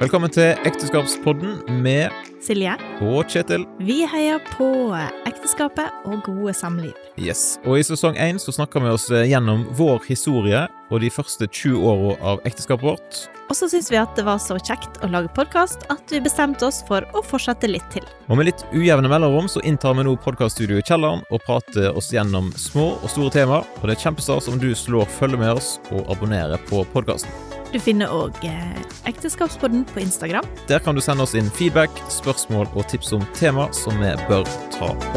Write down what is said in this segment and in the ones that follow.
Velkommen til Ekteskapspodden med Silje, og Kjetil. vi heier på ekteskapet og gode samliv. Yes. Og i sesong én så snakker vi oss eh, gjennom vår historie og de første 20 åra av ekteskapet vårt. Og så syns vi at det var så kjekt å lage podkast at vi bestemte oss for å fortsette litt til. Og med litt ujevne mellomrom så inntar vi nå podkaststudioet i kjelleren og prater oss gjennom små og store temaer. Og det er kjempestas om du slår følge med oss og abonnerer på podkasten. Du finner òg eh, Ekteskapspodden på Instagram. Der kan du sende oss inn feedback, spørsmål og tips om tema som vi bør ta opp.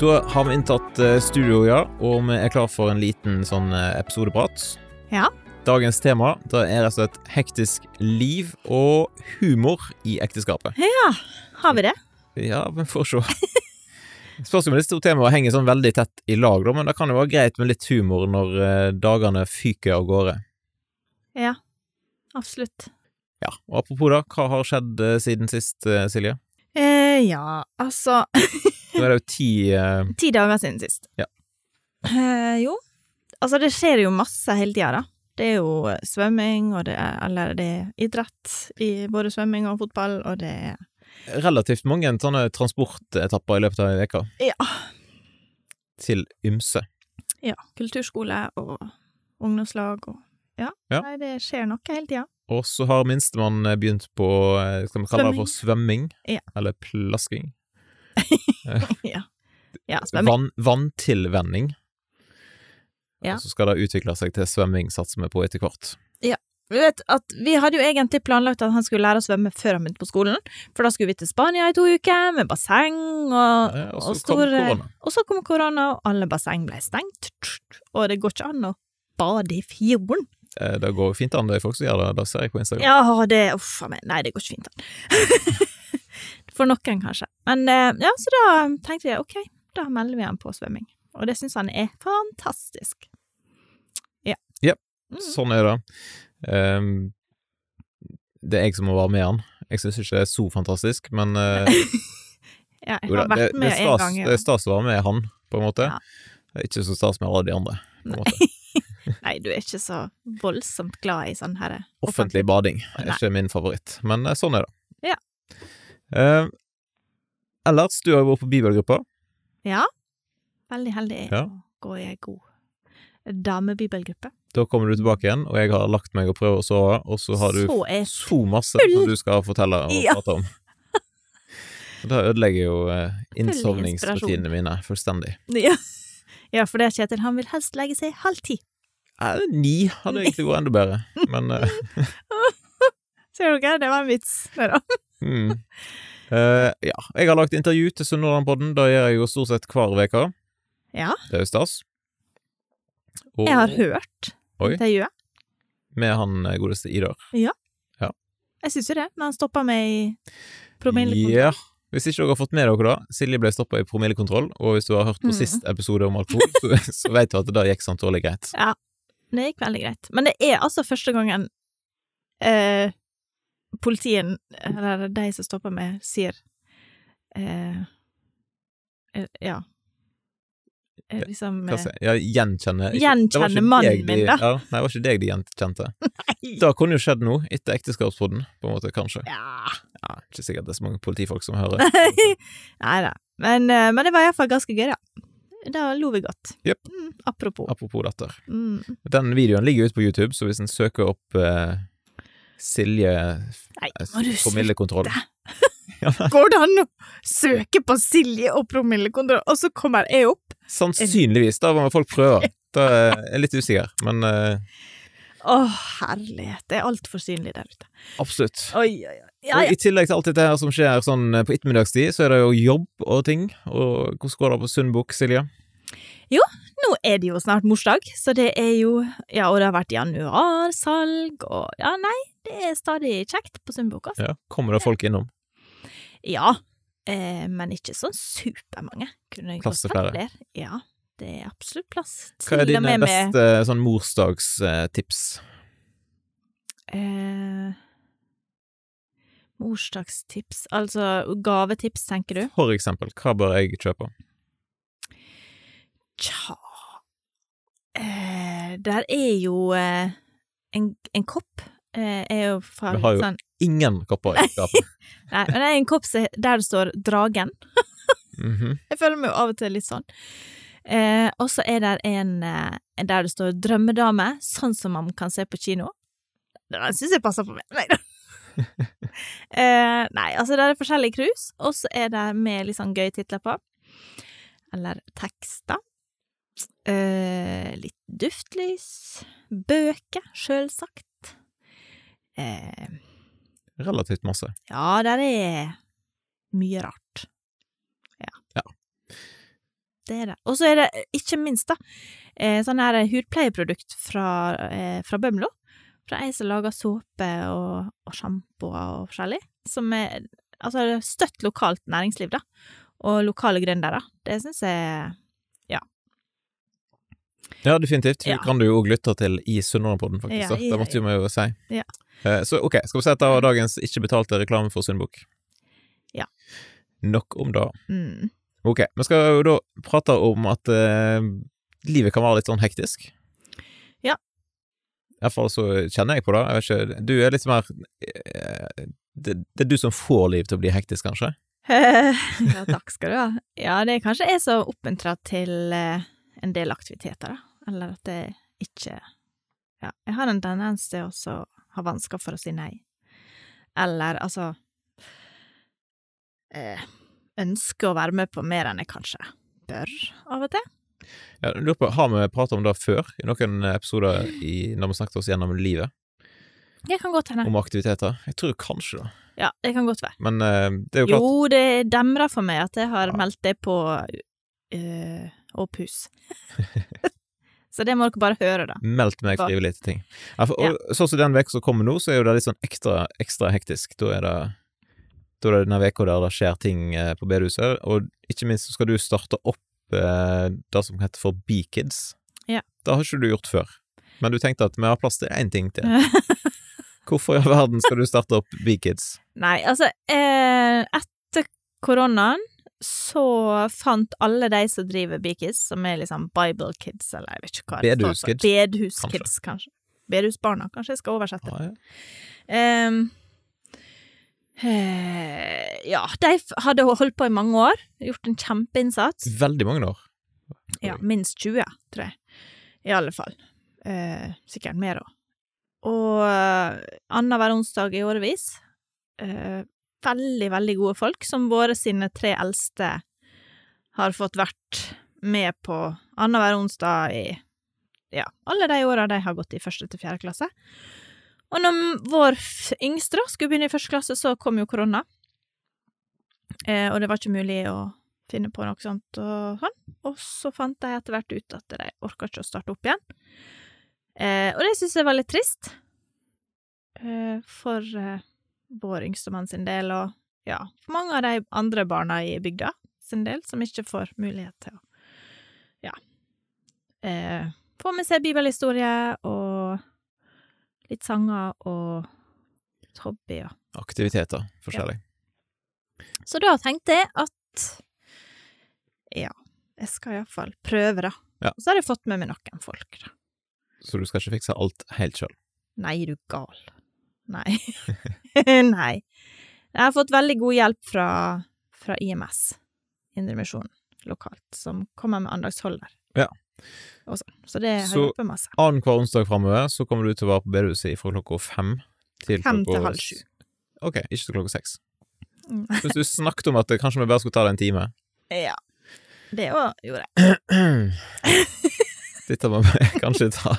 Da har vi inntatt eh, studio, ja, og vi er klar for en liten sånn eh, episodeprat. Ja. Dagens tema det er rett og slett hektisk liv og humor i ekteskapet. Har vi det? Ja, men får se. Spørs om disse to temaene henger sånn veldig tett i lag, da, men det kan jo være greit med litt humor når eh, dagene fyker av gårde. Ja. Absolutt. Ja, og apropos da, hva har skjedd eh, siden sist, eh, Silje? Eh, ja, altså Nå er det jo ti eh, Ti dager siden sist. Ja. Eh, jo. Altså, det skjer jo masse hele tida, da. Det er jo eh, svømming, og det er, eller det er idrett i både svømming og fotball, og det er relativt mange sånne transportetapper i løpet av ei uke. Ja. Til ymse. ja, kulturskole og ungdomslag og ja. Ja. Nei, det skjer noe hele tida. Og så har minstemann eh, begynt på, eh, skal vi kalle det for svømming? Ja. Eller plasking? ja. ja, svømming. Vann, vanntilvenning. Ja. Og så skal det utvikle seg til svømming, satser vi på etter hvert. Vi vet at vi hadde jo egentlig planlagt at han skulle lære å svømme før han begynte på skolen, for da skulle vi til Spania i to uker med basseng og Ja, og og så kom stor, eh, korona. Og så kom korona, og alle basseng ble stengt. Og det går ikke an å bade i fjorden. Eh, Det går fint an, det er folk som gjør det. Det ser jeg på Instagram. Ja, det Uff a meg. Nei, det går ikke fint an. For noen, kanskje. Men eh, ja, så da tenkte vi ok, da melder vi han på svømming. Og det syns han er fantastisk. Ja. Ja. Mm. Sånn er det. Ehm, det er jeg som må være med han. Jeg syns ikke det er så fantastisk, men eh, ja jeg jo da, har det, vært det, med er en stas, gang. det Ja. er stas å være med han, på en måte. Ja. Det er ikke så stas med alle de andre. på en måte. Nei, du er ikke så voldsomt glad i sånn her Offentlig bading er Nei. ikke min favoritt, men eh, sånn er det. Ja. Ehm, ellers, du har jo vært på bibelgruppa. Ja. Veldig heldig jeg Ja. å gå i ei god damebibelgruppe. Da kommer du tilbake igjen, og jeg har lagt meg og prøvd å sove, og så har du så er så masse som du skal fortelle og Ja. prate om. Og Da ødelegger jo eh, inspirasjon. innsovningsrutinene mine fullstendig. Ja. ja, for det er Kjetil. Han vil helst legge seg halv ti. Eh, ni hadde egentlig vært enda bedre, men eh, Ser dere, det var en vits. Der, da. mm. Eh, Ja. Jeg har lagt intervju til Sunnhordlandpodden. Det gjør jeg jo stort sett hver uke. Ja. Det er jo stas. Og Jeg har hørt Oi. intervjuet. med han eh, godeste Idar. Jeg syns jo det, men han stoppa meg i promillekontrollen. Ja. Hvis ikke dere har fått med dere det, Silje ble stoppa i promillekontroll, og hvis du har hørt på Mm. sist episode om alkohol, så, så vet du at det der gikk sånn dårlig greit. Det gikk veldig greit. Men det er altså første gangen eh, politien, eller de som stopper meg, sier eh, eh, Ja. Eh, Liksom Hva eh, sier jeg? Ja, gjenkjenne ikke- Gjenkjenne det var ikke mannen deg de, min, da. Ja, nei, det var ikke deg de gjenkjente. Nei! Det kunne jo skjedd nå, etter ekteskapspodden, på en måte, kanskje. eh, Ja. Ja, ikke sikkert det er så mange politifolk som hører. Nei da. Men, eh, men det var iallfall ganske gøy, da. Da lo vi godt. Jep. Mm, apropos. Apropos dette. Mm. Den videoen ligger ute på YouTube, så hvis en søker opp eh, Silje Nei, eh, må du Promillekontroll Går det an å søke på Silje og promillekontroll, og så kommer jeg opp? Sannsynligvis, da må folk prøve. Da er jeg litt usikker, men eh, Å, herlighet. Det er altfor synlig der ute. absolutt. Oi, oi, oi. Ja, Og ja. I tillegg til alt dette her som skjer sånn eh, på ettermiddagstid, så er det jo jobb og ting. Og hvordan går det på Sundbukk, Silje? Nå er det jo snart morsdag, så det er jo Ja, og det har vært januarsalg, og Ja, nei, det er stadig kjekt på Sundbukk, altså. Ja, kommer det folk innom? Ja. Eh, men ikke sånn supermange. Kunne jeg Plass godt til hatt flere. flere. Ja, det er absolutt plass. Hva er Til og dine med med- beste sånn morsdagstips? Eh, Morsdagstips, altså gavetips, tenker du? For eksempel, hva bør jeg kjøpe? Tja eh, Der er jo eh, en, en kopp eh, er jo fra Vi har jo- sånn Ingen kopper i skapet. Nei, men det er en kopp som- der det står 'Dragen'. Mhm. Jeg føler meg jo av og til litt sånn. Eh, og så er det en eh, der det står 'Drømmedame', sånn som man kan se på kino. Den syns jeg passer på meg. Nei da. eh, nei, altså det er forskjellige krus, og så er det med litt sånn gøye titler på. Eller tekster. Eh, litt duftlys. Bøker, sjølsagt. Eh, Relativt masse. ja, der er mye rart. Ja. Ja. Det er det. Og så er det eh, ikke minst, da, eh, sånn her eh, hudpleieprodukt fra, eh, fra Bømlo. Fra ei som lager såpe og, og sjampoer og forskjellig. Som er altså støtt lokalt næringsliv, da. Og lokale gründere. Det syns jeg Ja, definitivt. Ja. Vi kan du jo òg lytte til i Sunnmørepodden, faktisk. Ja, da. ja, det måtte jo vi jo si. Ja. Eh, Så ok, skal vi si at det var dagens ikke betalte reklame for Sundbukk? Ja. Nok om det. mm, Ok, vi skal jo da prate om at eh, livet kan være litt sånn hektisk. Ja. I hvert fall så kjenner jeg på det. Jeg vet ikke, du er litt mer eh, det, det er du som får liv til å bli hektisk, kanskje? ja, takk skal du ha. Eh, Ja, det er kanskje jeg som oppmuntrer til eh, en del aktiviteter, da. Eller at det ikke Ja, jeg har en tendens til også å ha vansker for å si nei. Eller altså eh, Ønske å være med på mer enn jeg kanskje bør, av og til. Ja, jeg lurer på, har vi pratet om det før, i noen episoder i, når vi snakket oss gjennom livet, Det kan godt hende. om aktiviteter? Jeg tror kanskje det. Ja, det kan godt være. Men eh, det er jo klart Jo, det demrer for meg at jeg har Ja. meldt det på eh, Åpus. Så det må dere bare høre, da. Meldt meg Hva? skrive litt ting. Ja, for, og, Sånn som den veka som kommer nå, så er jo det litt sånn ekstra, ekstra hektisk. Da er det da er det denne veka der det skjer ting eh, på bedehuset, og ikke minst så skal du starte opp eh, det som heter for Bekids. Ja. Det har ikke du gjort før, men du tenkte at vi har plass til én ting til. Hvorfor i all verden skal du starte opp Bekids? Nei, altså eh, Etter koronaen så fant alle de som driver Bikis, som er liksom Bible Kids, eller jeg vet ikke hva det står for. Bedehus Kids, Bedehus-kids, kanskje. Bedehusbarna, kanskje jeg skal oversette. Ah, ja. Ehm, eh, ja, de f- hadde holdt på i mange år, gjort en kjempeinnsats. Veldig mange år. Ja, minst 20, tror jeg. I alle fall. Eh, sikkert mer òg. Og eh, annenhver onsdag i årevis. Eh, veldig, veldig gode folk, som våre sine tre eldste har fått vært med på annenhver onsdag i ja, alle de åra de har gått i første til fjerde klasse. Og når m- vår f- yngste da skulle begynne i første klasse, så kom jo korona. Eh, og det var ikke mulig å finne på noe sånt og sånn. Og så fant de etter hvert ut at de orka ikke å starte opp igjen. Eh, og det syns jeg var litt trist. Eh, for eh, vår yngstemann sin del, og ja, for mange av de andre barna i bygda sin del, som ikke får mulighet til å ja eh, få med seg bibelhistorie og litt sanger og hobby og Aktiviteter, forskjellig. så da tenkte jeg at ja, jeg skal iallfall prøve, da. Ja. Og så har jeg fått med meg noen folk, da. Så du skal ikke fikse alt helt sjøl. Nei, er du gal. Nei. Nei. Jeg har fått veldig god hjelp fra, fra IMS, Indremisjonen lokalt, som kommer med andagsholder. Ja. Og sånn. Så det har Så- hjulpet masse. Annenhver onsdag framover så kommer du til å være på bedehuset fra klokka fem til Fem til klokka- halv sju. Ok, ikke til klokka seks. Mm. Hvis du snakket om at det kanskje vi bare skulle ta det en time Ja. Det òg gjorde jeg. Dette må vi kanskje ta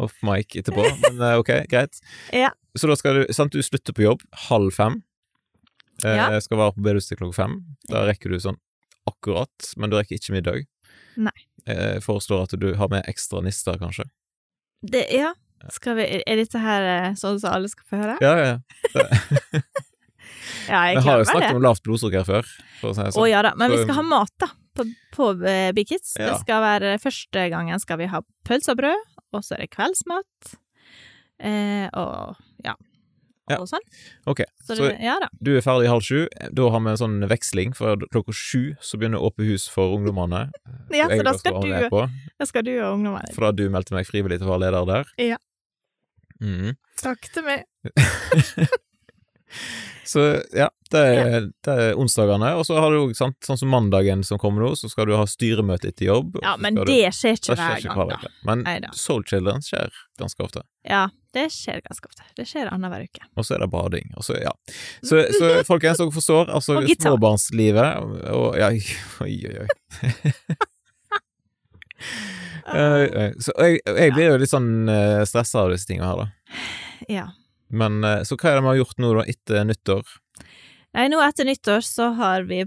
off mic etterpå, men eh, ok, greit. Ja. Så da skal du sant, du slutter på jobb halv fem. Eh, Ja. Skal være på bedehuset til klokka fem. Da rekker du sånn akkurat, men du rekker ikke middag. Nei. Eh, foreslår at du har med ekstra nister, kanskje. Det, ja. Skal vi, er dette her eh, sånn som alle skal få høre? Ja, ja. ja. Ja, Vi har jo klarer det. snakket om lavt blodsukker før, for å si det Å sånn. ja da, men Så- vi skal ha mat da, på, på eh, Big Kids. Ja. Det skal være første gangen skal vi ha pølse og brød, og så er det kveldsmat. Eh, og ja, Ja. og sånn. Ok, Så så- det, ja da. Du er ferdig halv sju. Da har vi en sånn veksling, for klokka sju så begynner Åpe hus for ungdommene. Ja, Jeg så da også skal være du, med på, da skal du og ungdommene For da du meldte meg frivillig til å være leder der. Ja. Mhm. Takk til meg. Så ja, det er, det er onsdagene. Og så har du jo, sant, sånn som mandagen som kommer nå, så skal du ha styremøte etter jobb. og Ja, så men skal du- det skjer ikke det skjer hver ikke gang, hver da. uke. Men Neida. Soul Children skjer ganske ofte. Ja, det skjer ganske ofte. Det skjer annenhver uke. Og så er det bading. Og så, ja. så, så folkens, dere forstår. Altså, Mm. Og gitar. småbarnslivet og, og ja, Oi, oi, oi. Eh, eh, så jeg, jeg blir jo litt sånn eh, stressa av disse tingene her, da. Ja. Men eh, så hva er det vi har gjort nå, da, etter nyttår? Nei, nå etter nyttår så har vi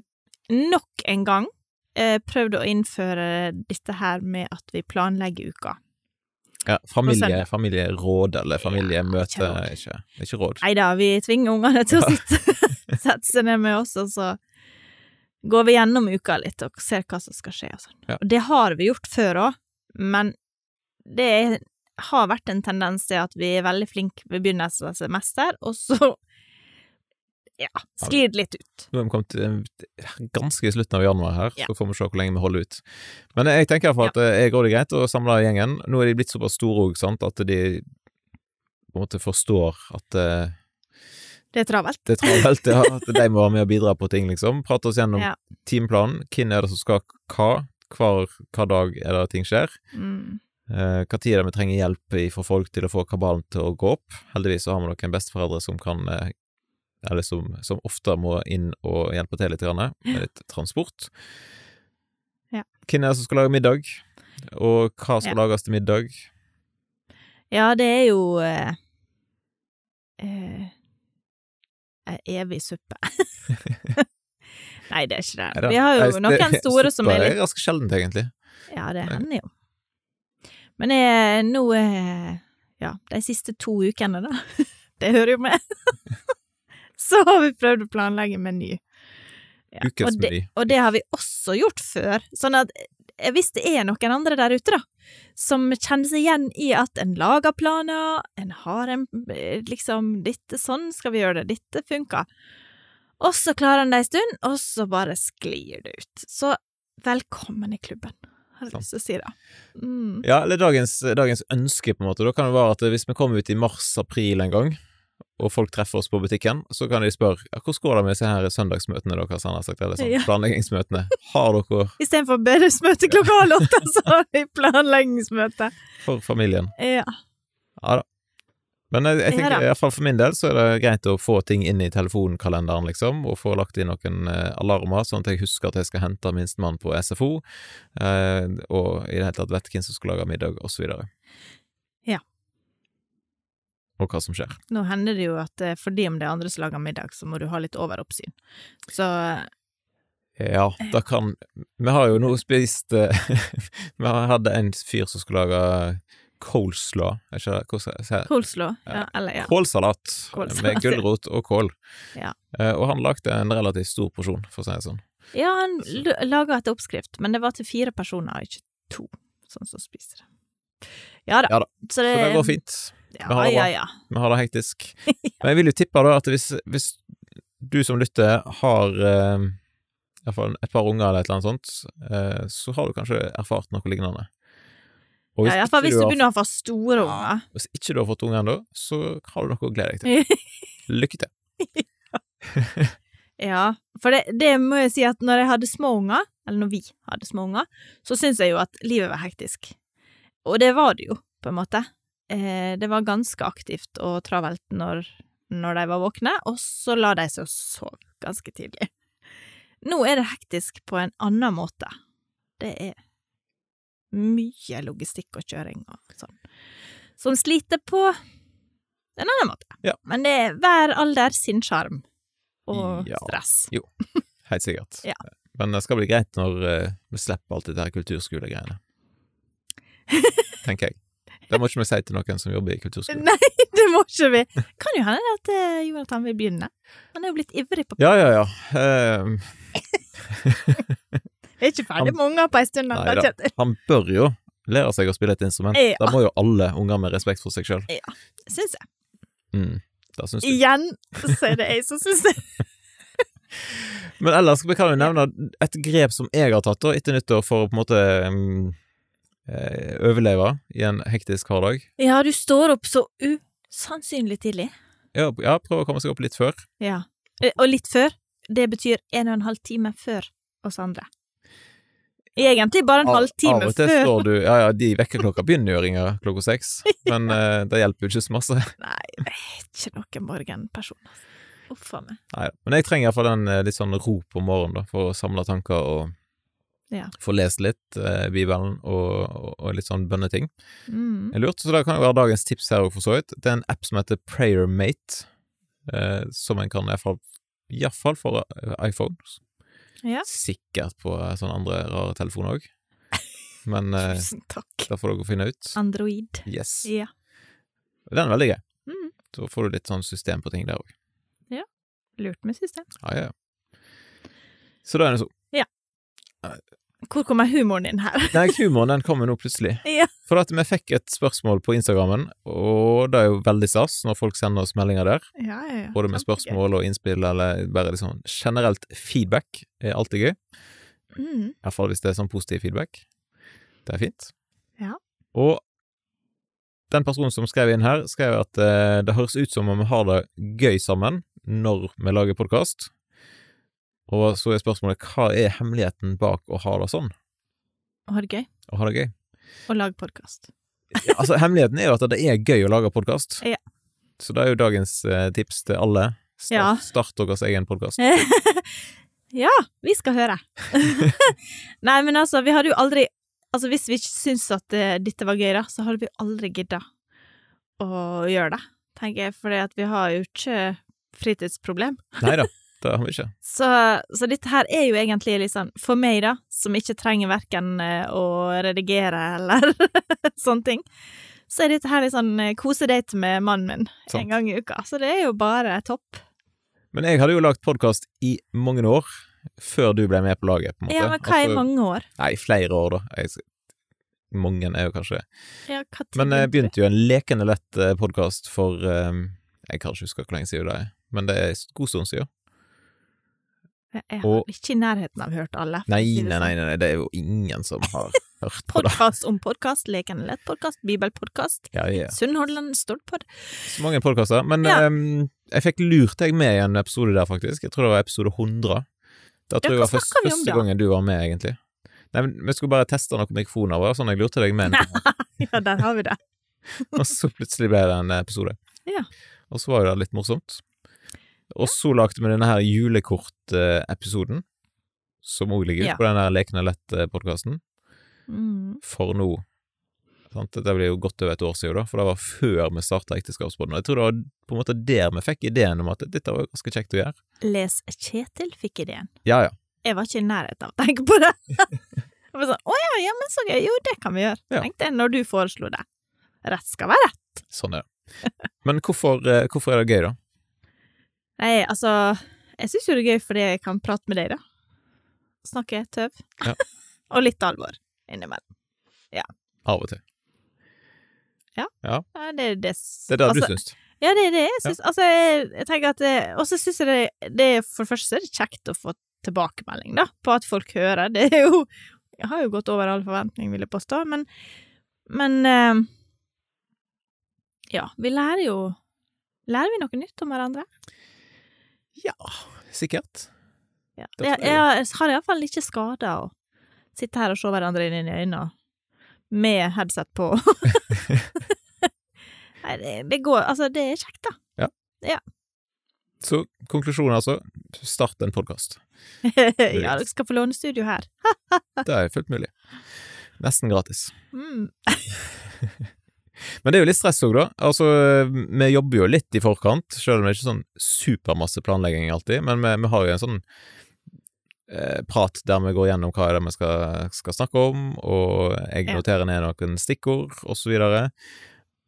nok en gang eh, prøvd å innføre dette her med at vi planlegger uka. Ja, familie, Prosent. familieråd eller familiemøte Ja, ikke, ikke, ikke råd. Nei da, vi tvinger ungene til å Ja. sitte, sette seg ned med oss, og så går vi gjennom uka litt og ser hva som skal skje og sånn. Ja. Og det har vi gjort før òg, men det er, har vært en tendens til at vi er veldig flinke ved begynnelsen av semester, og så ja, sklir det litt ut. Nå er vi kommet til ganske i slutten av januar her, Ja. så får vi se hvor lenge vi holder ut. Men jeg tenker iallfall at eh, jeg går det greit å samle gjengen. Nå er de blitt såpass store òg, sant, at de på en måte forstår at eh, Det er travelt. det er travelt, ja, at de må være med og bidra på ting, liksom. Prate oss gjennom Ja. timeplanen. Hvem er det som skal hva? Hver, hver dag er det ting skjer. Mm. Eh, Hva tid er det vi trenger hjelp i- fra folk til å få kabalen til å gå opp? Heldigvis så har vi noen besteforeldre som kan eh, Eller som, som ofte må inn og hjelpe til litt grann, med litt transport. Ja. Hvem er det som skal lage middag? Og hva skal Ja. lages til middag? Ja, det er jo eh, eh, ei evig suppe. Nei, det er ikke Er det. det- Vi har Nei, jo det- noen store som suppa er litt er ganske sjeldent, egentlig. Ja, det Nei. hender jo. Men jeg, nå eh, Ja, de siste to ukene, da. Det hører jo med. Så har vi prøvd å planlegge meny. Ja, Ukens og, det, meny. og det har vi også gjort før. Sånn at eh, hvis det er noen andre der ute, da, som kjenner seg igjen i at en lager planer, en har en eh, liksom Dette, sånn skal vi gjøre det, dette funker. Og så klarer en det en stund, og så bare sklir det ut. Så velkommen i klubben, har jeg lyst til å si da. Mm. Ja, eller dagens, dagens ønske, på en måte. Da kan det være at hvis vi kommer ut i mars-april en gang, og folk treffer oss på butikken, så kan de spørre ja, hvordan går det med disse her søndagsmøtene deres, han har sagt, eller sånn Ja. planleggingsmøtene. Har dere Istedenfor bedriftsmøte klokka halv åtte, så har vi planleggingsmøte. Eh, for familien? Ja. Ja da. Men jeg, jeg Ja tenker, da. i hvert fall for min del så er det greit å få ting inn i telefonkalenderen, liksom, og få lagt inn noen eh, alarmer, sånn at jeg husker at jeg skal hente minstemann på SFO, eh, og i det hele tatt vet hvem som skal lage middag, og så videre. Ja. Og hva som skjer. Nå hender det jo at eh, fordi om det er andre som lager middag, så må du ha litt overoppsyn. Så eh, Ja, da kan Vi har jo nå spist eh, Vi hadde en fyr som skulle lage coleslaw, er ikke det hvordan sier jeg? coleslaw, ja, Ja. eller ja. Kålsalat Kålsalat, med ja. gulrot og kål. Ja. Eh, Og han lagde en relativt stor porsjon, for å si det sånn. Ja, han l- laga etter oppskrift, men det var til fire personer, ikke to, sånn som spiser det. Ja da. Ja da. Så Så det, det går fint. Vi Ja, har det ja, bra. ja. Vi har det hektisk. Men jeg vil jo tippe da at hvis, hvis du som lytter har eh, i hvert fall et par unger eller et eller annet sånt, eh, så har du kanskje erfart noe lignende. Og ja i hvert fall ikke hvis du har begynner å få store unger. Hvis ikke du har fått unge ennå, så har du noe å glede deg til. til. Lykke til. Ja, for det, det må jeg si at når jeg hadde små unger, eller når vi hadde små unger, så syntes jeg jo at livet var hektisk. Og det var det jo, på en måte. Eh, det var ganske aktivt og travelt når, når de var våkne, og så la de seg og sov ganske tidlig. Nå er det hektisk på en annen måte. Det er mye logistikk og kjøring og sånn, som sliter på en annen måte. Ja. Men det er hver alder sin sjarm og Ja. stress. Helt sikkert. Ja. Men det skal bli greit når eh, vi slipper alt det der kulturskolegreiene. Tenker jeg. Det må ikke vi si til noen som jobber i kulturskole. Nei, det må ikke vi. Kan jo hende det at eh, Jonathan vil begynne. Han er jo blitt ivrig på Ja, ja, ja. Ehm, Jeg er ikke ferdig med unger på en stund. Nei Nei, da. han bør jo lære seg å spille et instrument. Ja. Det må jo alle unger med respekt for seg sjøl. Syns jeg. Mm. Det syns du. Igjen så er det jeg som syns det. Men ellers vi kan jo nevne et grep som jeg har tatt da, etter nyttår for å på en måte mm, eh, overleve i en hektisk hverdag. Ja, du står opp så usannsynlig tidlig. Ja, ja, prøve å komme seg opp litt før. Ja. Eh, Og litt før. Det betyr en og en halv time før oss andre. Egentlig bare en Av- halvtime Av og til før. står du Ja, ja, de vekkerklokka begynner jo å ringe klokka seks, men eh, det hjelper jo ikke så masse. Nei, jeg er ikke noen morgenperson, altså. Uff a meg. Nei, men jeg trenger iallfall den eh, litt sånn ro på morgenen, da, for å samle tanker og Ja. få lest litt eh, Bibelen og, og, og litt sånn bønneting. Mm. Det er Lurt. Så det kan jo være dagens tips her òg, for så vidt. Det er en app som heter PrayerMate, eh, som en kan iallfall Iallfall for eh, iPhone. Ja. Sikkert på eh, sånne andre rare telefoner òg. Men eh, Tusen takk. det får dere finne ut. Android. Yes. Ja. Den er veldig grei. Mm. Så får du litt sånn system på ting der òg. Lurt med system. Ja, ja, ja. Så da er det sånn. Hvor kommer humoren din her? Nei, humoren den kommer nå plutselig. Ja. For at vi fikk et spørsmål på Instagrammen, og det er jo veldig stas når folk sender oss meldinger der. Ja, ja, ja. Både med Kjempegøy. spørsmål og innspill, eller bare liksom generelt feedback er alltid gøy. Mm. Iallfall hvis det er sånn positiv feedback. Det er fint. Ja. Og den personen som skrev inn her, skrev at eh, det høres ut som om vi har det gøy sammen når vi lager podkast. Og så er spørsmålet hva er hemmeligheten bak å ha det sånn, Og ha det gøy. å ha det gøy? Og lag podkast. Altså, hemmeligheten er jo at det er gøy å lage podkast. Ja. Så det er jo dagens eh, tips til alle. Start, Ja. start deres egen podkast. ja, vi skal høre. Nei, men altså, vi hadde jo aldri Altså, hvis vi ikke syntes at eh, dette var gøy, da, så hadde vi jo aldri gidda å gjøre det, tenker jeg, fordi at vi har jo ikke fritidsproblem. Nei da, det har vi ikke. Så, så dette her er jo egentlig litt sånn For meg, da, som ikke trenger verken eh, å redigere eller sånne ting, så er dette her litt sånn eh, kosedate med mannen min Sant. en gang i uka. Så det er jo bare topp. Men jeg hadde jo lagd podkast i mange år, før du ble med på laget, på en måte. Ja, men hva Altså, i mange år? Nei, flere år, da. Jeg, s- mange er jo kanskje det. Ja, hva tid Men eh, jeg begynte du? begynte jo en lekende lett podkast for eh, Jeg kan ikke huske hvor lenge siden det er, men det er en god stund siden. Jeg jeg har Og- ikke i nærheten av hørt alle. for å Nei, si det nei, sånn. nei, nei, det er jo ingen som har hørt på det. Podcast om podkast, Lekende lett-podkast, bibelpodkast, Ja, ja. Sunnhordland Stordpod. Så mange podkaster. Men Ja. ehm, jeg fikk lurt deg med i en episode der, faktisk. Jeg tror det var episode 100. Da Ja, tror jeg hva var først, snakker vi om første da? gangen du var med, egentlig. Nei, men Vi skulle bare teste noen mikrofoner, var det sånn jeg lurte deg med, en- Ja, der har vi det. og så plutselig ble det en episode. Ja. Og så var jo det litt morsomt. Og så lagde vi denne her julekortepisoden, som òg ligger ute Ja. på den der Lekende lett-podkasten, Mm. for nå sant? Det blir jo godt over et år siden, da, for det var før vi starta Ekteskapsbåten. Og Jeg tror det var på en måte der vi fikk ideen om at dette var jo ganske kjekt å gjøre. Les Kjetil fikk ideen. Ja, ja. Jeg var ikke i nærheten av å tenke på det. Jeg var sånn, Å ja, ja, men så gøy. Jo, det kan vi gjøre, Ja. tenkte jeg når du foreslo det. Rett skal være rett. Sånn er det. Men hvorfor, eh, hvorfor er det gøy, da? Nei, altså, jeg syns jo det er gøy fordi jeg kan prate med deg, da. Snakke tøv. Ja. Og litt alvor innimellom. Av og til. Ja, det er det, Det er det altså, du syns. Ja, det er det jeg syns. Altså, jeg, jeg tenker at det- Og så syns jeg det, det er- For det første så er det kjekt å få tilbakemelding, da, på at folk hører. Det er jo Jeg har jo gått over all forventning, vil jeg påstå, men Men eh, Ja, vi lærer jo Lærer vi noe nytt om hverandre? Ja, sikkert. Ja. Det Jeg, tror jeg. jeg har iallfall ikke skader å sitte her og se hverandre inn i øynene og- med headset på. Nei, det, det går Altså, det er kjekt, da. Så konklusjonen, altså. Start en podkast. ja, dere skal få låne studio her. Det er fullt mulig. Nesten gratis. Mm. Men det er jo litt stress òg, da. Altså, vi jobber jo litt i forkant, selv om det er ikke sånn supermasse planlegging alltid. Men vi, vi har jo en sånn eh, prat der vi går gjennom hva er det vi skal, skal snakke om, og jeg Ja. noterer ned noen stikkord, og så videre.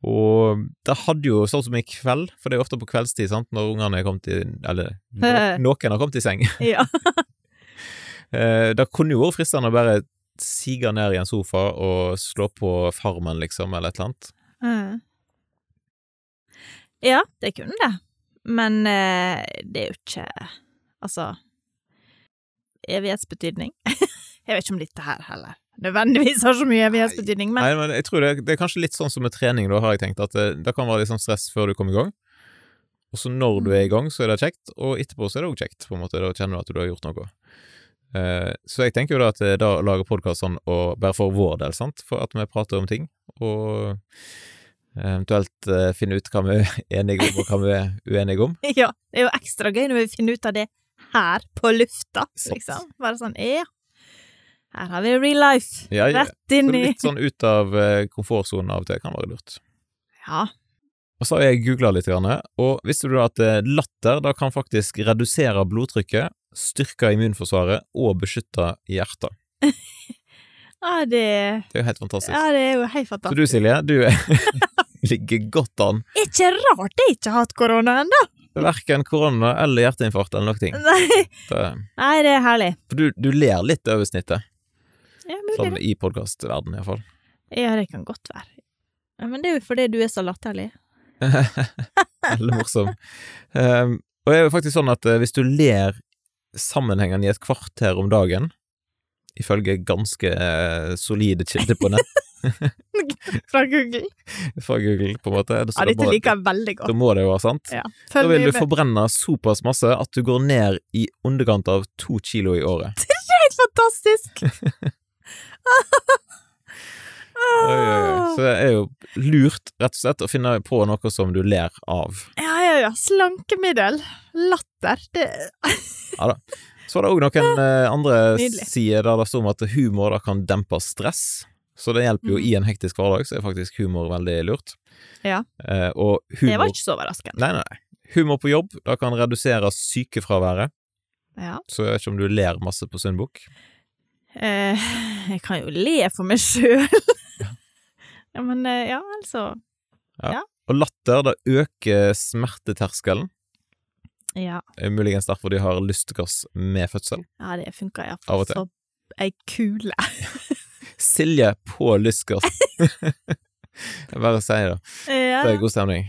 Og det hadde jo sånn som i kveld, for det er jo ofte på kveldstid, sant, når ungene er kommet i Eller no- noen har kommet i seng. Ja. Eh, det kunne jo vært fristende å bare sige ned i en sofa og slå på Farmen, liksom, eller et eller annet. Mm. Ja, det kunne det. Men eh, det er jo ikke Altså Evighetsbetydning. jeg vet ikke om dette her heller nødvendigvis har så mye evighetsbetydning, men Nei, men jeg tror det, er- det er kanskje litt sånn som med trening, da, har jeg tenkt. At det, det kan være litt sånn stress før du kommer i gang. Og så når du er i gang, så er det kjekt, og etterpå så er det òg kjekt, på en måte. Da kjenner du at du har gjort noe. Eh, så jeg tenker jo da at eh, da å lage podkast sånn, og bare for vår del, sant, for at vi prater om ting, og eventuelt eh, finne ut hva vi er enige om, og hva vi er uenige om. ja, det er jo ekstra gøy når vi finner ut av det her på lufta, Sant. liksom. Bare sånn Ja, her har vi real life. Ja, ja. Rett inn Så i litt sånn ut av eh, komfortsonen av og til kan være lurt. Ja. Og så har jeg googla litt, grann, og visste du da at eh, latter da kan faktisk redusere blodtrykket, styrke immunforsvaret og beskytte hjertet? Ja, det, Det er jo helt fantastisk. ja, det er jo helt så fantastisk. du Silje, du ligger godt an. Ikke rart jeg ikke har hatt korona ennå! Verken korona eller hjerteinfarkt eller noe ting. Nei. Det- Nei, det er herlig. For du, du ler litt over snittet, Ja, mulig sånn det. i podkastverdenen iallfall. Ja, det kan godt være. Ja, men det er jo fordi du er så latterlig. Veldig morsom. Ehm, og det er jo faktisk sånn at eh, hvis du ler sammenhengende i et kvarter om dagen, ifølge ganske eh, solide kilder på nett Fra Google. fra Google, på en måte da- Ja, da dette må- liker jeg veldig Da godt. må det jo være sant. Ja. Da Følg vil mye du med. forbrenne såpass masse at du går ned i underkant av to kilo i året. Helt fantastisk! Oi, oi, oi. Så det er jo lurt, rett og slett, å finne på noe som du ler av. Ja, ja, ja. Slankemiddel. Latter. Det Så var det òg noen eh, andre Nydelig. sider der det står om at humor da kan dempe stress. Så det hjelper jo Mhm. i en hektisk hverdag, så er faktisk humor veldig lurt. Ja. Eh, og Det var humor ikke så overraskende. Nei, nei, nei. Humor på jobb da kan redusere sykefraværet, Ja. så jeg vet ikke om du ler masse på Sundbukk. Eh, jeg kan jo le for meg sjøl. ja, men eh, ja, altså Og latter det øker smerteterskelen, Ja, Eh, muligens derfor de har lystgass med fødsel. ja det funka Av iallfall og til. som ei kule. Silje på lystgass. jeg bare sier det. Ja. Det er god stemning.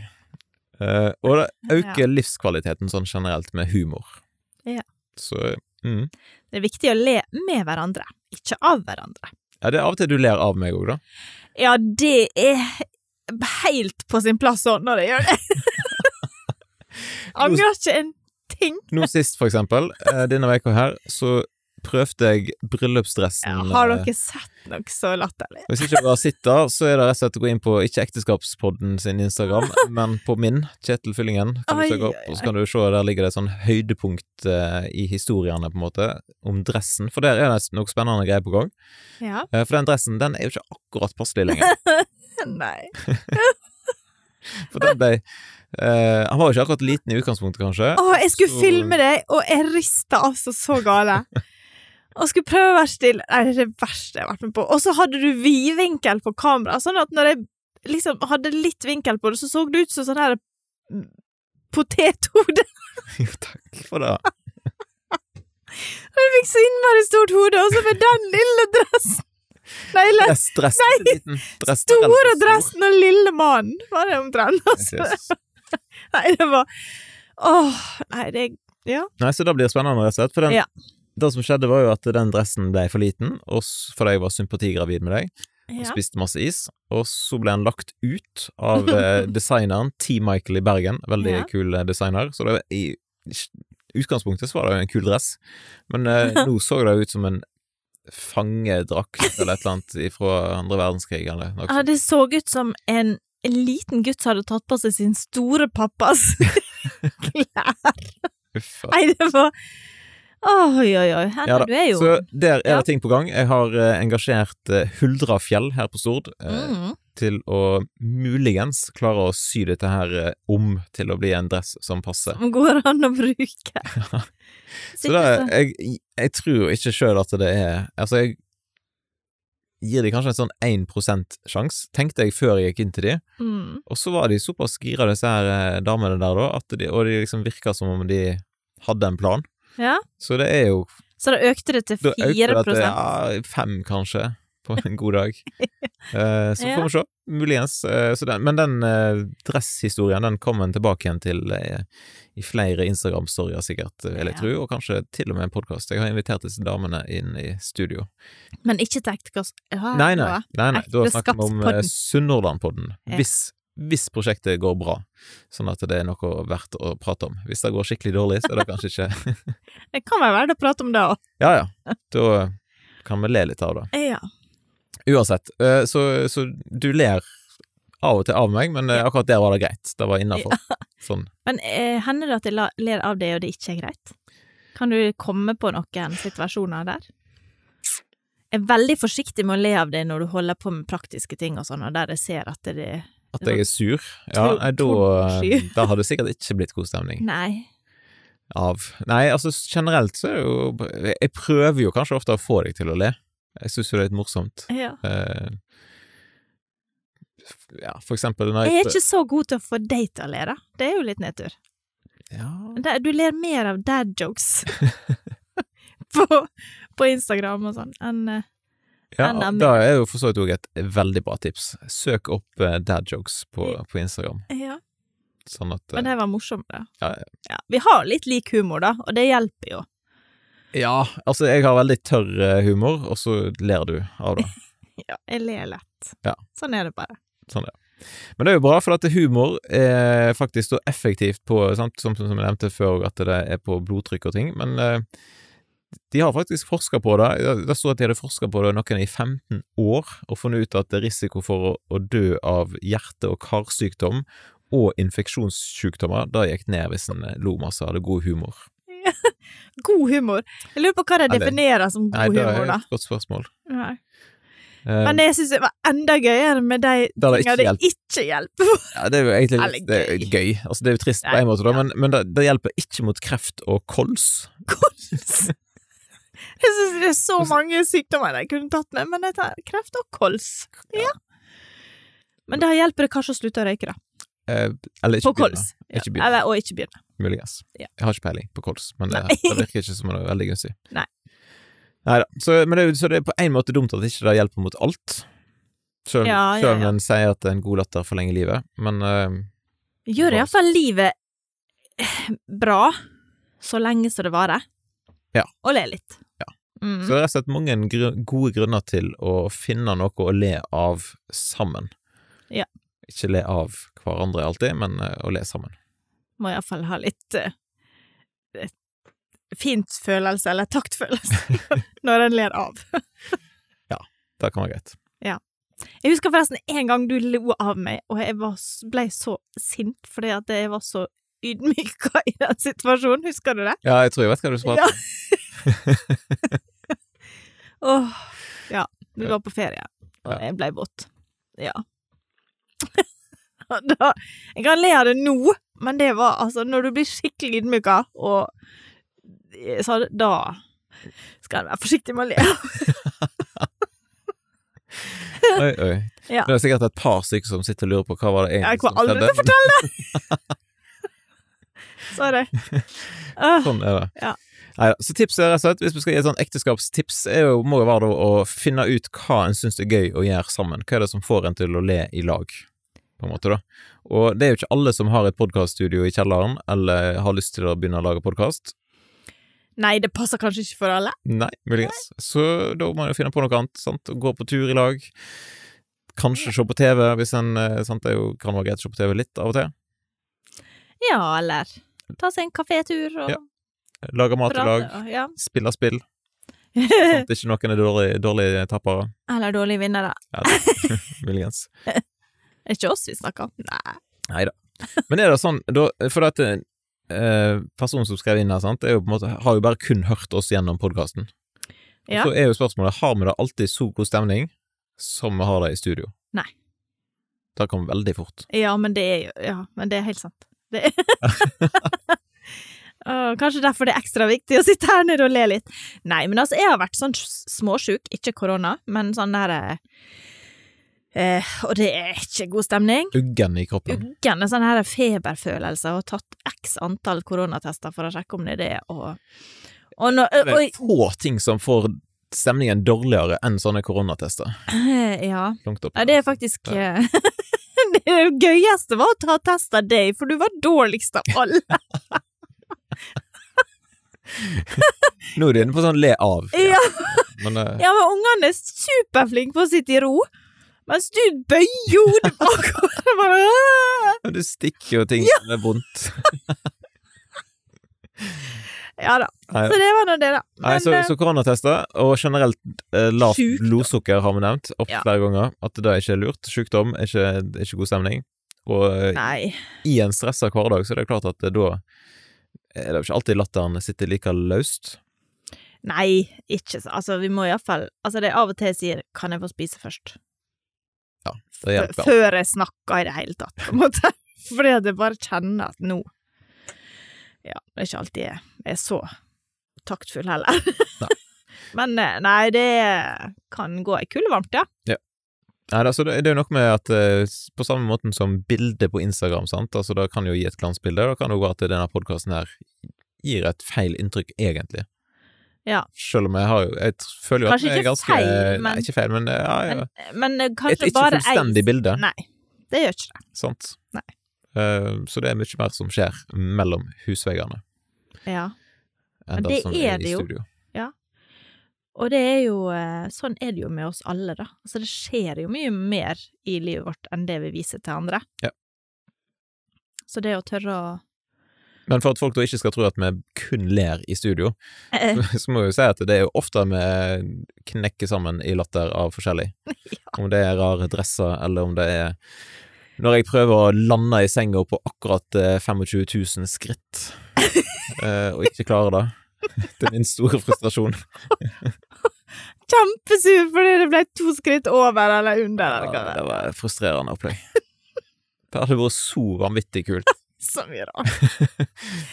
Eh, og det øker Ja. livskvaliteten sånn generelt med humor. Ja. Så mm. Det er viktig å le med hverandre, ikke av hverandre. Ja, det er av og til du ler av meg òg, da. Ja, det er helt på sin plass sånn når jeg gjør det. Angrer ikke en ting. Nå sist, for eksempel, eh, denne uka her, så prøvde jeg bryllupsdressen. Ja, har eh, dere sett noe så latterlig? Hvis ikke dere har sett det, så er det rett og slett å gå inn på ikke ekteskapspodden sin Instagram, men på min, Kjetil Fyllingen, kan Oi, du søke opp, og så kan du se der ligger det et sånn høydepunkt eh, i historiene, på en måte, om dressen, for der er det noe spennende greier på gang. Ja. Eh, For den dressen, den er jo ikke akkurat passelig lenger. Nei. For den ble eh, Han var jo ikke akkurat liten i utgangspunktet, kanskje. Å, jeg skulle Så- filme deg, og jeg rista altså så gale. Og skulle prøve å være stille. Nei, det er det verste jeg har vært med på. Og så hadde du vidvinkel på kamera, sånn at når jeg liksom hadde litt vinkel på det, så så det ut som sånn her mm, potethode. Jo, takk for det. Jeg fikk så innmari stort hode, og så med den lille dressen Nei, lille, Dress, dress, Nei! Liten, dress, store relativt stor. dressen og lille mannen, var det omtrent. Altså. Jesus. Nei, det var Åh, nei, det Nei, så det blir spennende, rett og slett. For den, Ja. det som skjedde, var jo at den dressen ble for liten, og s- fordi jeg var sympatigravid med deg, og ja. spiste masse is, og så ble den lagt ut av eh, designeren T. Michael i Bergen. Veldig Ja. kul eh, designer. Så det, i utgangspunktet så var det jo en kul dress, men eh, nå så det ut som en fangedrakt eller et eller annet fra andre verdenskrig eller noe Ja, sånt. det så ut som en en liten gutt som hadde tatt på seg sin store pappas klær. Uff, ass. Nei, det var Oi, oi, oi. Henrik, Ja da. du er jo Så der er Ja. det ting på gang. Jeg har eh, engasjert eh, Huldrafjell her på Stord eh, mm. til å muligens klare å sy dette her eh, om til å bli en dress som passer. Som går an å bruke. Så det, er- jeg, jeg tror jo ikke sjøl at det er Altså, jeg gir de kanskje en sånn 1 sjanse, tenkte jeg før jeg gikk inn til de. mm. Og så var de såpass gira, disse her eh, damene der, da, at de, og de liksom virka som om de hadde en plan. ja. Så det er jo Så da økte det til Da 4 øker det til ja, fem, kanskje, på en god dag. Eh, så Ja. får vi se. muligens. eh, Så den, men den eh, dresshistorien den kommer en tilbake igjen til eh, i flere Instagram-storyer, sikkert, eh, vil jeg Ja. tro, og kanskje til og med en podkast. Jeg har invitert disse damene inn i studio. Men ikke til ektekast... Ja, Nei, nei, bra. nei, nei. da Ekte snakker vi om eh, Skapspodden. Sunnhordlandpodden. Ja. Hvis, hvis prosjektet går bra, sånn at det er noe verdt å prate om. Hvis det går skikkelig dårlig, så er det kanskje ikke Det kan være verdt å prate om det òg. Ja, ja. Da kan vi le litt av det. Ja. Uansett, eh, så, så du ler av og til av meg, men eh, akkurat der var det greit. Det var innafor. Sånn. Men eh, hender det at jeg la- ler av det, og det ikke er greit? Kan du komme på noen situasjoner der? Jeg er veldig forsiktig med å le av det når du holder på med praktiske ting og sånn, og der jeg ser at det At jeg er sur. Ja, Tro- nei, da, eh, trollsky. da hadde det sikkert ikke blitt god stemning Nei. av Nei, altså generelt så er det jo Jeg prøver jo kanskje ofte å få deg til å le. Jeg syns jo det er litt morsomt. Ja. Eh, f- ja, for eksempel når Jeg er ikke så god til å få deg til å le, da. Det er jo litt nedtur. ja. Men det- Du ler mer av dad jokes på, på Instagram og sånn enn eh, Ja, Anna Mi- da er jo for så vidt òg et veldig bra tips. Søk opp eh, dad jokes på, på Instagram, eh, Ja. sånn at eh, Men det var morsomt, da. Ja, ja. Ja. Vi har litt lik humor, da, og det hjelper jo. Ja, altså jeg har veldig tørr eh, humor, og så ler du av det. Ja, jeg ler lett. Ja. Sånn er det bare. Men det er jo bra, for at humor er faktisk så effektivt på, sant, som, som jeg nevnte før, at det er på blodtrykk og ting, men eh, de har faktisk forska på det. Det- Det sto at de hadde forska på det noen i 15 år, og funnet ut at det er risiko for å, å dø av hjerte- og karsykdom og infeksjonssykdommer, det gikk ned hvis en eh, lo masse og hadde god humor. God humor. Jeg lurer på hva de Ja, det- definerer som god Nei, det humor, er da. et godt spørsmål. Nei. Eh, Men jeg syns det var enda gøyere med de Da hadde det ikke tingene det ikke hjelper for. Ja, det er jo egentlig Eller litt, det er jo gøy. gøy. Altså, det er jo trist på Nei, en måte, da, ja. men, men det, det hjelper ikke mot kreft og kols. Jeg syns det er så Altså- mange sykdommer de kunne tatt med, men jeg tar kreft og kols. Ja. Men da hjelper det kanskje å slutte å røyke, da. Eh, eller ikke På kols. Ja. Ikke begynne. Eller og ikke begynne. muligens. Ja. Jeg har ikke peiling på kols, men det, Nei. det virker ikke som det er veldig gunstig. Nei. Neida. Så, men det, er jo- så det er på en måte dumt at ikke det hjelper mot alt. Selv, Ja, ja, selv om ja. en sier at en god latter forlenger livet, men eh, Gjør Bra. iallfall livet eh, bra så lenge som det varer. Ja. Og le litt. Ja. Mm. Så det er rett og slett mange gru- gode grunner til å finne noe å le av sammen. Ja. Ikke le av hverandre alltid, men eh, å le sammen. må iallfall ha litt eh, et fint følelse, eller taktfølelse, når en ler av. Det kan være greit. Jeg husker forresten en gang du lo av meg, og jeg var, s- ble så sint fordi at jeg var så ydmyka i den situasjonen. Husker du det? Ja, jeg tror jeg vet hva du skal prate om. Åh, ja. Vi var på ferie, og jeg ble våt. Ja. Og da, jeg kan le av det nå, men det var altså Når du blir skikkelig ydmyka, og eh, så da skal en være forsiktig med å le. Oi, oi. Ja. Det er sikkert et par stykker som sitter og lurer på hva var det Jeg egentlig kommer aldri til å fortelle Sorry. Åh, Sånn er det. Ja. Neida, Så tipset er rett og slett, hvis vi skal gi et sånn ekteskapstips, er jo, må jo være da å finne ut hva en syns er gøy å gjøre sammen. Hva er det som får en til å le i lag, på en måte, da. Og det er jo ikke alle som har et podkaststudio i kjelleren, eller har lyst til å begynne å lage podkast. nei, det passer kanskje ikke for alle. Nei, muligens. Så da må en jo finne på noe annet, sant. Gå på tur i lag. Kanskje se på TV, hvis en eh, sant? Det er jo, kan være greit å se på TV litt av og til. Ja, eller ta seg en kafétur og Ja, Lage mat i lag. prate. og- Ja. Spille spill. Sånn at ikke noen er dårlige dårlig tappere. Eller dårlige vinnere. Ja, det- muligens. Er ikke oss vi snakker om? Nei. Men er det sånn, da, for at eh, personen som skrev inn her, sant, er jo på en måte, har jo bare kun hørt oss gjennom podkasten. Ja. Så er jo spørsmålet, har vi da alltid så god stemning som vi har det i studio? Nei. Det kom veldig fort. Ja, men det er jo Ja, men det er helt sant. Det er Åh, kanskje derfor det er ekstra viktig å sitte her nede og le litt. Nei, men altså, jeg har vært sånn s- småsjuk, ikke korona, men sånn der eh, eh, Og det er ikke god stemning. Uggen i kroppen. Uggende sånn her feberfølelse og tatt x antall koronatester for å sjekke om det er det, og Og, når, Det og, er få ting som får stemningen dårligere enn sånne koronatester. Ja. Langt opp. Nei, det er faktisk eh, Det gøyeste var å ta test av deg, for du var dårligst av alle. Nå er du inne på sånn le av. Ja, Men eh, ja men ungene er superflinke på å sitte i ro, mens du bøyer hodet bakover. Jeg bare, «Åh!» du stikker jo ting som er vondt. Ja da. Nei. Så det var nå det, da. Nei, Men, så, eh, så koronatester, og generelt eh, lavt Sjukt. blodsukker har vi nevnt opp Ja. flere ganger, at det ikke er lurt. Sykdom er ikke, er ikke god stemning. Og eh, nei. i en stressa hverdag, så er det klart at det da er det jo ikke alltid latteren sitter like løst. nei, ikke så Altså, vi må iallfall Altså, det er av og til jeg sier 'kan jeg få spise først'? Ja, det hjelper. Før jeg snakker i det hele tatt, på en måte. Fordi at jeg bare kjenner at nå Ja, det er ikke alltid jeg er så taktfull heller. Nei. Men eh, nei, det kan gå ei kule varmt, ja. Nei, altså, det, det er jo noe med at eh, s- på samme måten som bildet på Instagram, sant, altså det kan jo gi et glansbilde, og det kan jo være at denne podkasten her gir et feil inntrykk, egentlig. Ja. Selv om jeg har jo Jeg t- føler jo at Kanskje jeg er ikke ganske feil, men- Nei, ikke feil, men eh, ja, ja. Men, men eh, Et kanskje ikke bare fullstendig bilde, Nei, det gjør ikke det. sant? Nei. Eh, så det er mye mer som skjer mellom husveggene Ja. enn Ja, det, det som er er, det i jo. studio. Og det er jo eh, Sånn er det jo med oss alle, da. Altså, det skjer jo mye mer i livet vårt enn det vi viser til andre. Ja. Så det å tørre å Men for at folk da ikke skal tro at vi kun ler i studio, eh, så må vi jo si at det er jo ofte vi knekker sammen i latter av forskjellig. Om det er rare dresser, eller om det er Når jeg prøver å lande i senga på akkurat eh, 25 000 skritt, eh, og ikke klarer det. Til min store frustrasjon. Kjempesur fordi det ble to skritt over eller under, eller hva Ja, det det er. var et frustrerende opplegg. Det hadde vært så vanvittig kult. Så mye rart. Det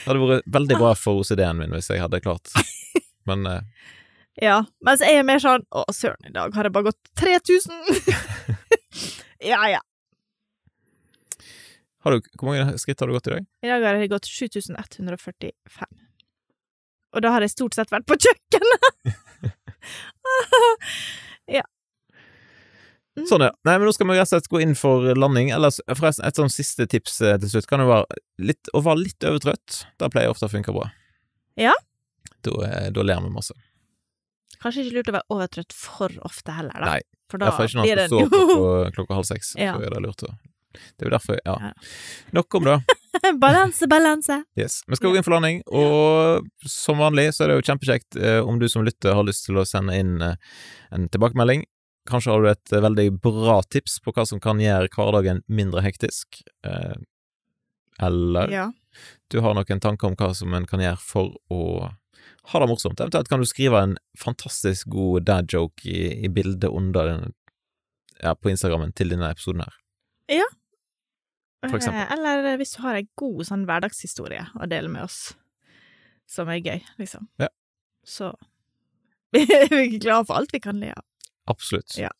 hadde vært veldig bra for OCD-en min hvis jeg hadde klart. Men eh, Ja. Mens jeg er mer sånn Å, søren, i dag har det bare gått 3000! ja, ja. har du, hvor mange skritt har du gått i dag? I dag har det gått 7145. Og da har jeg stort sett vært på kjøkkenet! Mm. Sånn, ja. Nei, men nå skal vi rett og slett gå inn for landing. Ellers, forresten, et sånn siste tips eh, til slutt kan jo være litt, å være litt overtrøtt. Det pleier ofte å funke bra. Ja. Da, eh, da ler vi masse. Kanskje ikke lurt å være overtrøtt for ofte heller, da. Nei. for da Derfor er ikke når blir han skal den stå jo klokka, klokka halv seks, Ja. så er det lurt å Det er jo derfor, Ja. ja. Nok om det. Balanse, balanse. Yes. Vi skal gå inn for landing, og som vanlig så er det jo kjempekjekt eh, om du som lytter har lyst til å sende inn eh, en tilbakemelding. Kanskje har du et eh, veldig bra tips på hva som kan gjøre hverdagen mindre hektisk. Eh, eller Ja. du har noen tanker om hva som en kan gjøre for å ha det morsomt. Eventuelt kan du skrive en fantastisk god dad joke i, i bildet under den, ja, på Instagrammen til denne episoden her. For eksempel. Eh, Eller hvis du har en god sånn hverdagshistorie å dele med oss, som er gøy, liksom. Ja. Så vi er ikke glade for alt vi kan le av. Absolutt. Ja.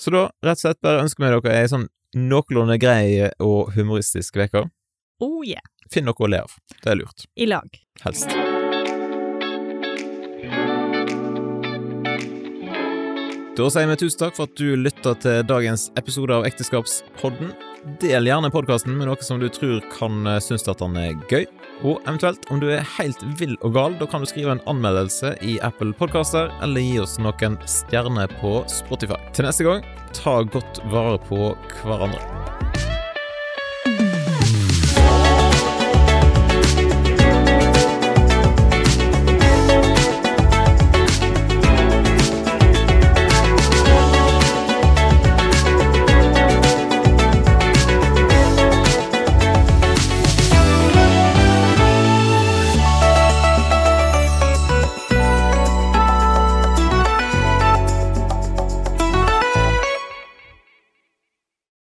Så da rett og slett bare ønsker vi dere ei sånn noenlunde grei og humoristisk uke. Oh yeah! Finn noe å le av. Det er lurt. I lag. Helst. Da sier vi tusen takk for at du lytta til dagens episode av Ekteskapspodden. Del gjerne podkasten med noe som du tror kan eh, synes at den er gøy. Og eventuelt, om du er helt vill og gal, da kan du skrive en anmeldelse i Apple Podkaster, eller gi oss noen stjerner på Spotify. Til neste gang, ta godt vare på hverandre.